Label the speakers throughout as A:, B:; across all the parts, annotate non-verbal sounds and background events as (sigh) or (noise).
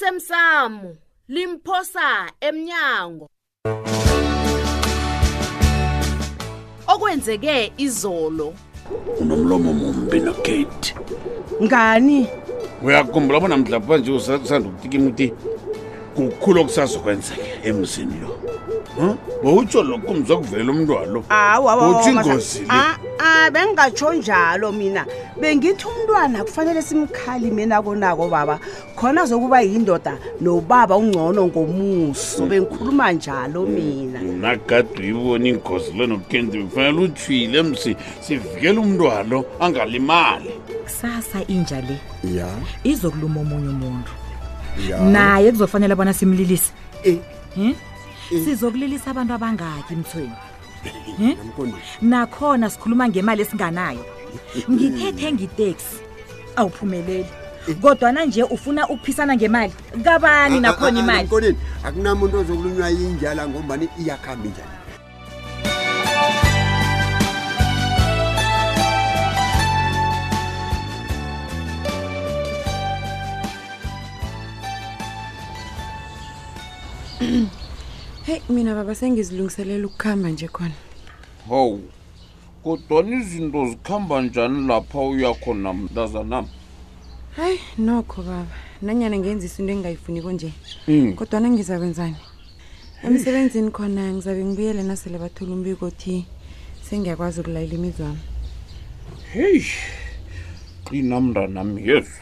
A: osemsamo limphosa emnyango okwenzeke izolo
B: unomlomo mumbi nogate
C: ngani
B: uyakhumbula bona mdlapha nje usanda ukutikima ukuthi kukhulu okusazokwenzeka emzini lo Huh? bowutsho lokho umzwa kuvela umntwalo Uthi ingozi le.
D: Ah.
C: a bengingatsho njalo mina bengithi umntwana kufanele simkhalime nakonako baba khona zokuba yindoda nobaba ungcono ngomuso bengikhuluma njalo mina
B: mna kade uyibona ingozi lenokenti kufanele utshwile msi sivikele umntwalo angalimali
D: kusasa inja le
E: ya
D: izokuluma omunye umuntu
E: ya
D: naye kuzofanele bona simlilise
E: Eh.
D: Hmm? sizokulilisa abantu abangaki mthweni
E: Namkhombisi.
D: nakhona sikhuluma ngemali esinganayo ngithethe ngiteksi awuphumeleli kodwana nje ufuna ukuphisana ngemali kabani nakhona
E: Ah, ah, ah,
D: imali
E: Namkoneni, akunamuntu ozokulunywa yinjala ngombani iyakhambi njani
F: heyi mina baba sengizilungiselela ukukhamba nje khona
B: hawu kodwani izinto zikhamba njani lapha uyakhona mntazanam
F: hayi nokho baba nanyana ngenzisa into engingayifuniko nje kodwana ngizakwenzani emsebenzini khona ngizabe ngibuyele nasele bathola umbiko othi sengiyakwazi ukulayela imizwami
B: heyi qina mntanam yezu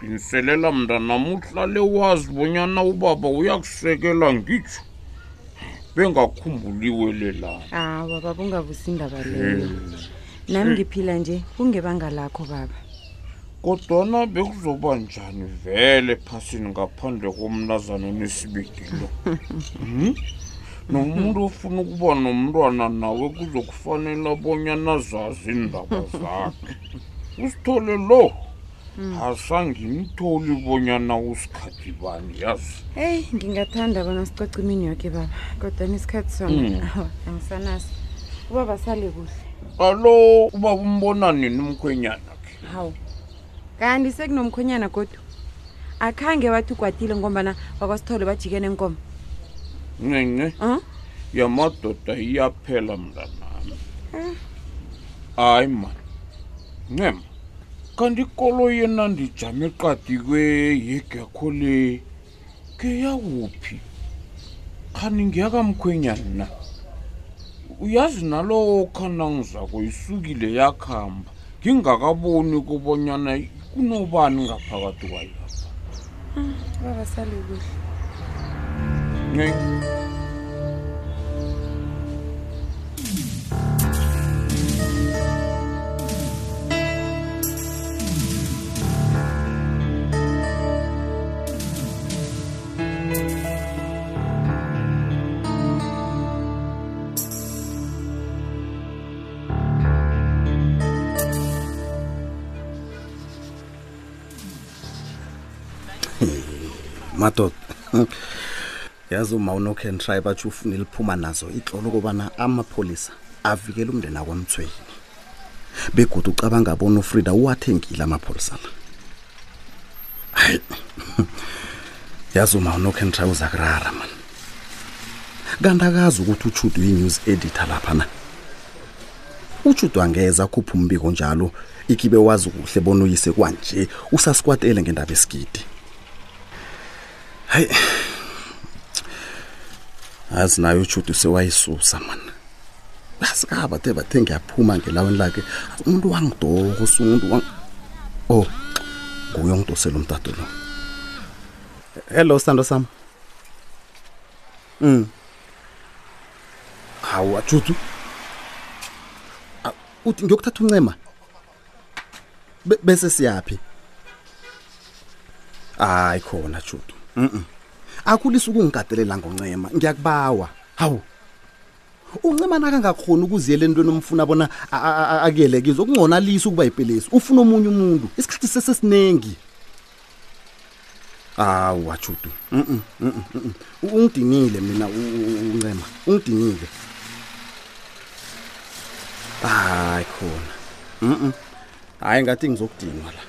B: qiniselela mntanam uhlale wazi bonyana ubaba uyakusekela ngitsho e bengakhumbuliwelelana
F: awa baba ungavusi indaba leyo nami ngiphila nje kungebanga lakho baba
B: kodwana bekuzoba njani vele phasini ngaphandle komnazana onesibekilo Hmm? nomuntu ofuna ukuba nomntwana nawe kuzokufanela bonyana zazi iindaba zakhe usithole lo asangimtholi bonyana usikhathi bani yazi
F: heyi ngingathanda bona sicoce imini yoke baba kodwa nesikhathi sona awa angisanaso ubaba sale kuhle
B: alo ubaba umbona nini umkhwenyana khe
F: hawu kanti sekunomkhonyana kodwa akhange wathi ukwatile ngombana bakwasithole bajike nenkomo
B: ncinci
F: um
B: yamadoda iyaphela mntanami hayi mani ncema kanti ikolo yena ndijame qadi kweyegekho le ngeyakuphi khani ngiyakamkhwenyani na uyazi nalowo khana ngizako isukile yakhamba ngingakaboni kubonyana kunobani ngaphakathi kwayo
F: baba salekuhle
B: ncence
G: madoda yazi uma unokhan try batsho ufuna liphuma nazo itlolo kobana amapholisa avikele umndeni akwamthweni begoda ucabanga bona ufrida uwathengile amapholisa la hayi yazi uma unokhan try uza kurara mani kanti akazi ukuthi utshudo yi-news editor laphana utshudo angeza akhupha umbiko njalo ikibe wazi kuhle bona uyise kwanje usasikwatele ngendaba esigidi hayi azi nayo utshudu sewayisusa mani asikaba de bathe ngiyaphuma ngelaweni lakhe umuntu wangidoko sumuntu wang o nguye ongidosela umtado lo hello sithando sam um hawu ajudu uthi ngiyokuthatha uncema Be- bese siyaphi hayi khona judu mm akulisa ukungikatelela ngoncema ngiyakubawa hawu uncema nakangakhona ukuziyela entweni omfuna bona a- a- a- akuyele kizo kungcono alise ukuba yipelesi ufuna omunye umuntu isikhathi sesesiningi awu ajudu Mm-mm, mm-mm, mm-mm. U- ungidinile mina u- u- u- uncema ungidinile hayi khona Mm-mm. hayi ngathi ngizokudinwa la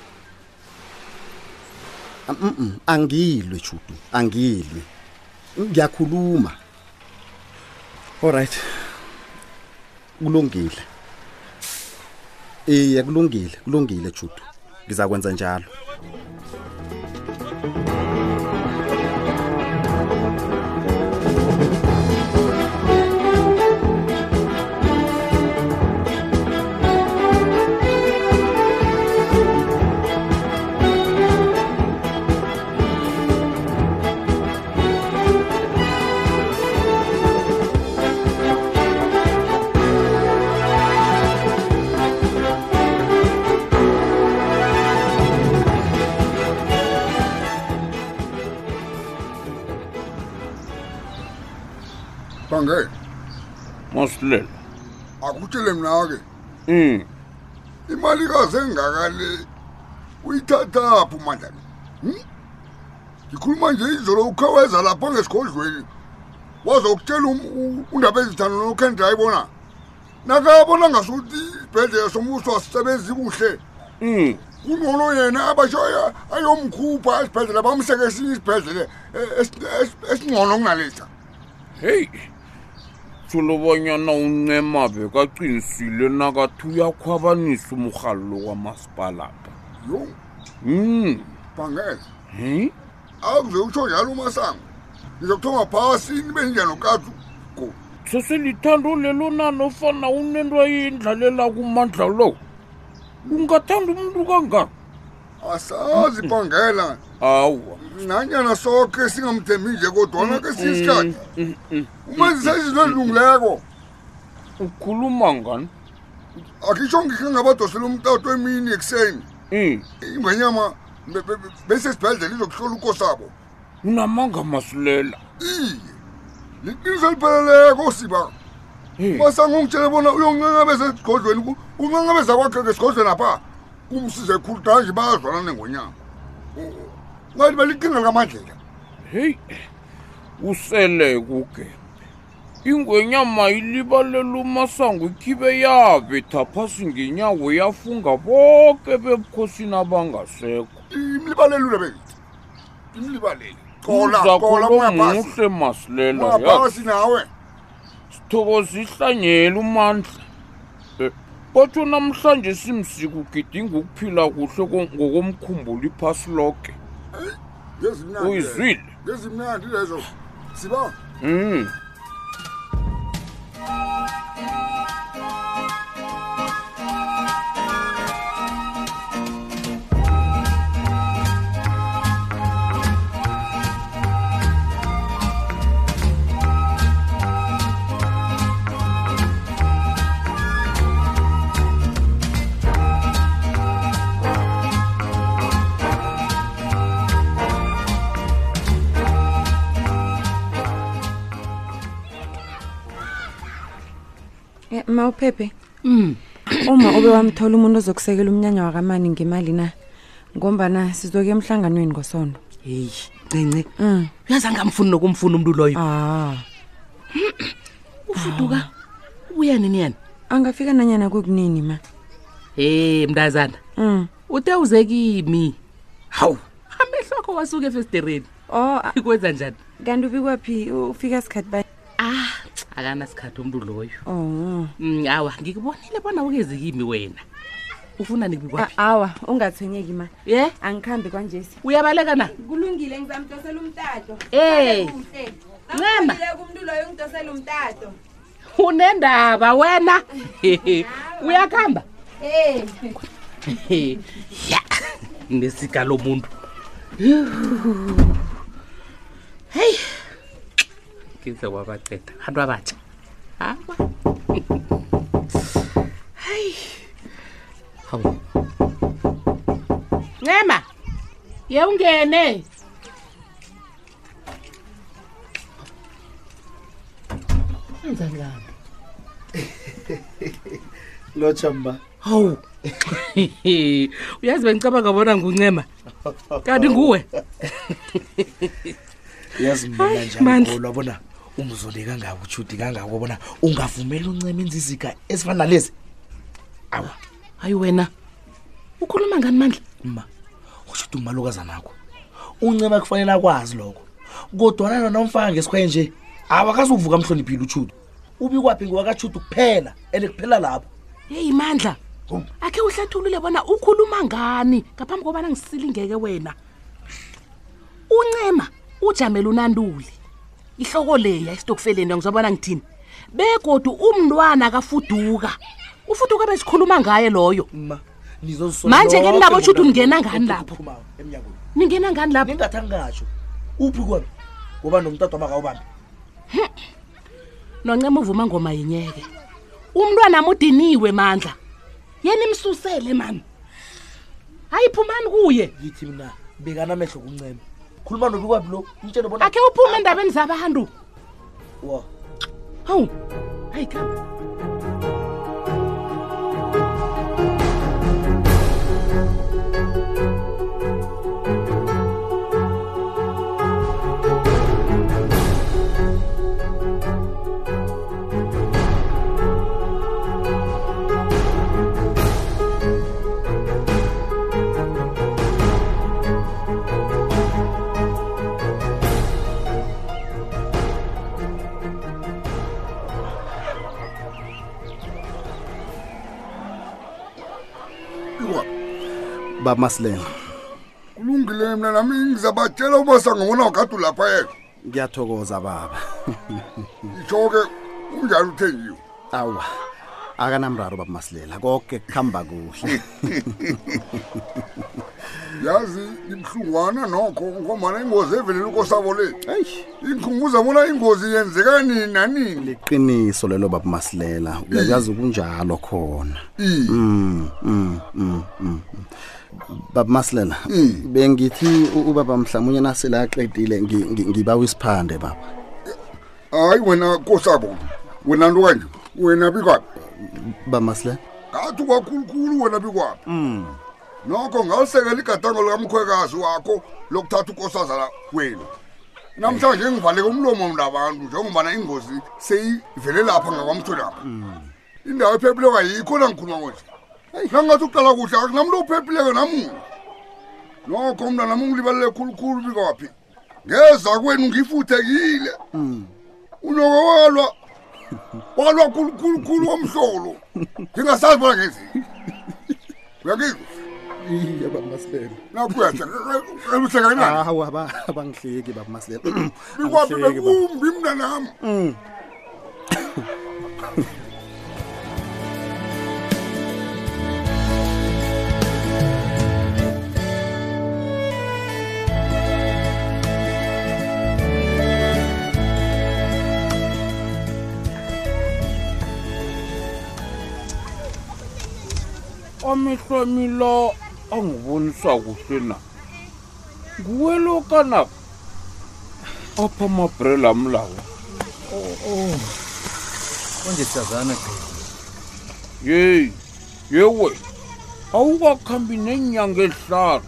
G: Mm, angilwe Judu, angilwe. Ngiyakhuluma. Alright. Kulungile. Eh, kulungile, kulungile Judu. Ngizakwenza njalo.
E: bange
B: masilela
E: akutshele mna-ke
B: um
E: imali kasengakale uyithathaphi umandlalo Hmm? ngikhuluma nje izolo ukhaweza lapho ngesigodlweni wazokutshela um- u- undaba ezithando nokhendra bona nakabona ngasuthi isibhedlela sombuso asisebenzi kuhle
B: um
E: kungcono yena abasho aya- ayomkhupha esibhedlela bamseke esinye isibhedlele eh, esi- esi- esingcono kunalesa
B: heyi tholobanyana uncema bekaqinisile nakathi uyakhwabanisa umrhallo kwamasipalapa
E: yo
B: um
E: bhangele akuze utsho njalo umasango ngizokuthoma phasi nibenja nokazu go
B: seselithando lelo na nofana unento ayindlalela e kumandla lo ungathanda umntu kangaka
E: asazi bhangela
B: awa
E: nanyana soke singamthembi nje kodwana kesinye isikhathi umenzisa izinto ezilungileko
B: ukhuluma ngani
E: akhitsho ngikhe ngabadosela umtato emini ekuseni
B: um
E: ingwenyama be- be- be- besesibhedlela izokuhlola ukosabo
B: unamanga masilela
E: iye liqiniso elipheleleko siba
B: Hey.
E: masango ungitshele bona uyonqanqabeza esigodlweni ku- unqanqabeza kwakhe ngesigodlweni apha kumsize khulu kanje bayazwana nengonyama ngathi beliqinga likamandlela
B: heyi usele kuge ingwenyama ilibalela umasango ikhibe yabetha phasi ngenyawo yafunga boke bebukhosini abangasekho
E: imlibalelule bekithi imlibalele Qola,
B: uzakho
E: qola, moya phasi.
B: lomuhle masilela
E: Moya
B: yazi.
E: phasi nawe
B: sithokoza ihlanyela umandla Eh, kodwa namhlanje simsika ugidinga ukuphila kuhle ko- ngokomkhumbulo iphasi loke
E: ngezimnandi
B: Uyizwile?
E: ngezimnandi lezo siba
B: mm.
F: Eh, ma uphephe
H: Mm.
F: uma ube wamthola umuntu ozokusekela umnyanya wakamani ngemali na ngombana sizoke emhlanganweni ngosondo
H: heyi ncinci uyazi angamfuni nokumfuna umntu loyo
F: ah
H: ufuduka ubuya nini yena
F: angafika nanyana kukunini ma
H: he mntazana
F: Mm.
H: uthe uze kimi hawu amehlo akho wasuka efesitereni (laughs)
F: oh a-
H: ikwenza njani
F: kanti ubikwaphi U- ufika sikhathi bani
H: ah akanasikhathi umntu loyo
F: oh
H: Mm, awa ngikubonile bona ukeze kimi wena ufuna
F: A-
H: nikikwaphi
F: awa ungathwenyeki ma
H: Ah, ye
F: angikhambi kwanjesi
H: uyabaleka na
F: kulungile ngizamdosela umtato
H: Eh. Ncema.
F: kumntu loyo ngidosela umtato
H: unendaba wena (laughs) uyakuhamba
F: hey
H: ya nesika lomuntu heyi ngize wabaceda abantu (laughs) abatsha aba heyi hawu ncema ye ungene enzani kabi
I: lotsha mba
H: hawu uyazi bengicabanga bona nguncema kanti nguwe
I: yazi mina
H: Hayi, Mandla.
I: njalolwa bona umzole kangako utshudi kangako bona ungavumeli uncema enza iziga ezifana nalezi awa
H: hayi wena ukhuluma ngani mandla
I: ma utshudi umalokazanakho unceba kufanele akwazi lokho kodwana nona umfaka ngesikhwaye nje awakazuvuka amhloniphile utshudu ubikwaphi ngiwakatshudu kuphela and kuphela lapho
H: heyi mandla akhe uhlathulule bona ukhuluma ngani ngaphambi kobana ngisilingeke wena uncema ujamele unanduli ihloko leya esitokufeleni angizobona ngithini begodu umntwana kafuduka ufuduka besikhuluma ngaye loyo
I: ma nizozisola
H: Manje-ke
I: lonke
H: nabo shuthi
I: ngomuntu
H: ningena ngani
I: othi
H: lapho?
I: uphumayo emnyangweni
H: ningena ngani lapho
I: ningathi angingatsho uphi kwami ngoba nomtata wamakawubambi
H: noncema uvuma ngoma yinyeke umntwana mudiniwe mandla yena imsusele mani hayi phumani kuye
I: ngithi mina bekanamehlo kumncema khuluma nobikwaphi lo umtshele bona
H: akhe uphume endabeni zabantu
I: wa
H: hawu hayi khamba
G: bamasilela
E: kulungile mna nami ngizabatshela umasango wona wakade ulapha yena
G: ngiyathokoza baba (laughs)
E: itsho-ke unjani uthenjiwe
G: awa akanamraro babamasilela konke kuhamba kuhle
E: yazi ibuhlungwana nokho ngomana ingozi evelela ukosabo lethu
G: eyi
E: ingikhumbuza bona ingozi yenzeka nini nanini
G: liqiniso lelo babamasilela uyayazi kunjalo khona
E: Iye.
G: Mm, mm, mm, mm. babamasilela bengithi u- ubaba mhlawumunye nasele aqedile ngi- ngi- ngibawa isiphande baba
E: hayi wena kosabo wena nto kanje wena bikwaphi
G: babamasilela
E: ngathi kwakhulukhulu wena bikwaphi nokho ngalisekela igadango likamkhwekazi wakho lokuthatha ukosazana wenu namhlanje ngivaleke umlomo mnabantu njengobana ingozi seyivele lapha ngakwamtholapha indawo ephephileko ayikho nangikhuluma konje nangingathi ukuqala kuhle akunamntu ophephileko namunye nokho mna nami ungilibalele khulukhulu bikwaphi ngeza kwenu ngifuthekile unyoko walwa walwa khulukhulukhulu omhlolo ngingasazi bona ngenzini uyangizwa
G: iye babamasilela
E: nakuyahlekana
G: awa ba- abangihleki (clears throat) babamasilela
E: bikwaphi
G: Angihleki, baba.
E: bekumbi mna nami
B: omehlwami la angibonisa kuhle na nguwe lo kanako apha amabrela am lawo
J: konje siyazana gqi
B: yeyi yewe awukakhambi nenyanga ezihlanu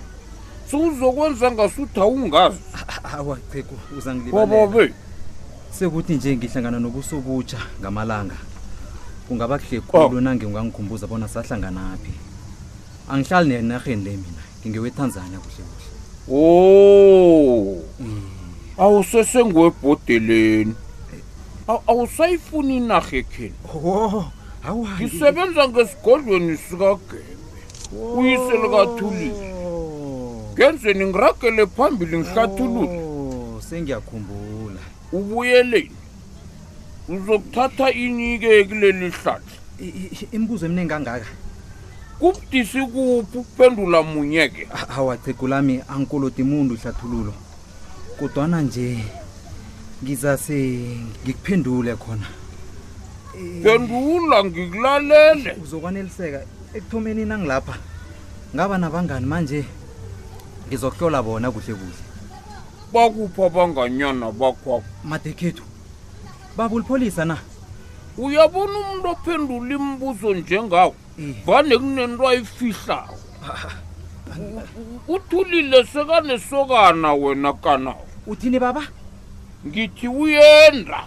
B: sewuzokwenza ngasuthi awungazi
J: awa qhiku uzangilibalela
B: bababe
J: sekuthi nje ngihlangana nobusobutsha ngamalanga kungaba kuhle khulu nange ungangikhumbuza bona sahlanganaphi angihlali nenarheni le mina ngingewetanzania kuhle kuhle
B: o e awusesenguwebhodeleni Aw- awusayifuni inarha ekheni
J: o hawa
B: ngisebenza ngesigodlweni sikagembe uyise likathulile ngenzeni ngiragele phambili ngihlathulule
J: Oh, sengiyakhumbula
B: ubuyeleni uzokuthatha inike kuleli hlahla
J: I- i- imibuzo emningi kangaka
B: kubudisi kuphi uphendula munye ke
J: hawa qhigu lami angikoloti muntu ihlathululo kodwana nje ngizase ngikuphendule khona
B: phendula ngikulalele
J: uzokwaneliseka ekuthomeni nangilapha ngaba nabangani manje ngizokuhlola bona kuhle kuhle
B: bakuphi abanganyana bakwakho
J: madekhethu babulipholisa na
B: uyabona umuntu ophendula imibuzo njengawo vane kunento ayifihlayo uthulile sekanesokana wena kanawo
J: uthini baba
B: ngithi uyenda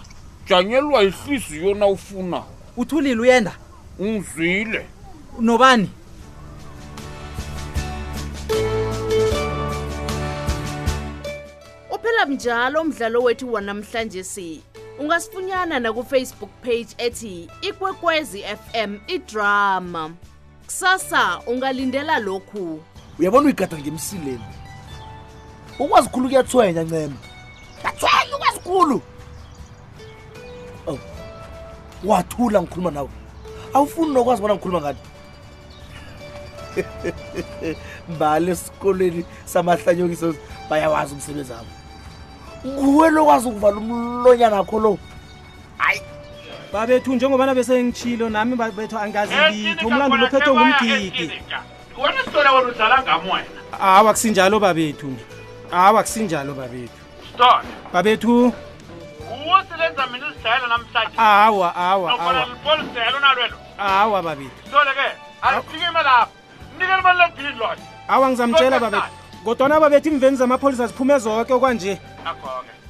B: janyelwa yihliziyo na ufunayo
J: uthulile uyenda
B: ungizwile
J: nobani
H: uphela mnjalo umdlalo wethu wanamhlanje si ungasifunyana nakufacebook page ethi ikwekwezi fm idrama kusasa ungalindela lokhu
I: uyabona uyigada ngemsileni ukwazi khulu kuyathwenya ncema ngathwenya ukwazi khulu awu wathula ngikhuluma nawe awufuni nokwazi bona ngikhuluma ngani (laughs) mbali esikolweni samahlanyokiso bayawazi umsebenzi abo nguwe lokwazi ukuvala umlonyana akho lo
J: babethu njengobana besengitshilo nami babethu angazilitho umlandulo uphethwe ngumgidi
B: wena sitora wena udlala ngam wena
J: awa kusinjalo babethu awa kusinjalo babethu
B: sitora
J: babethu
B: nguwo silenza mina izidlayela namhlanje
J: awa awa
B: nobona
J: awa
B: lipoli sidlayela unalwelo
J: awa babethu
B: sitole ke alifikime lapho mnikela ubalulekile loyo
J: awa ngizamtshela babethu kodwana babethu imveni zamapholisa ziphume zonke okwanje
B: akho-ke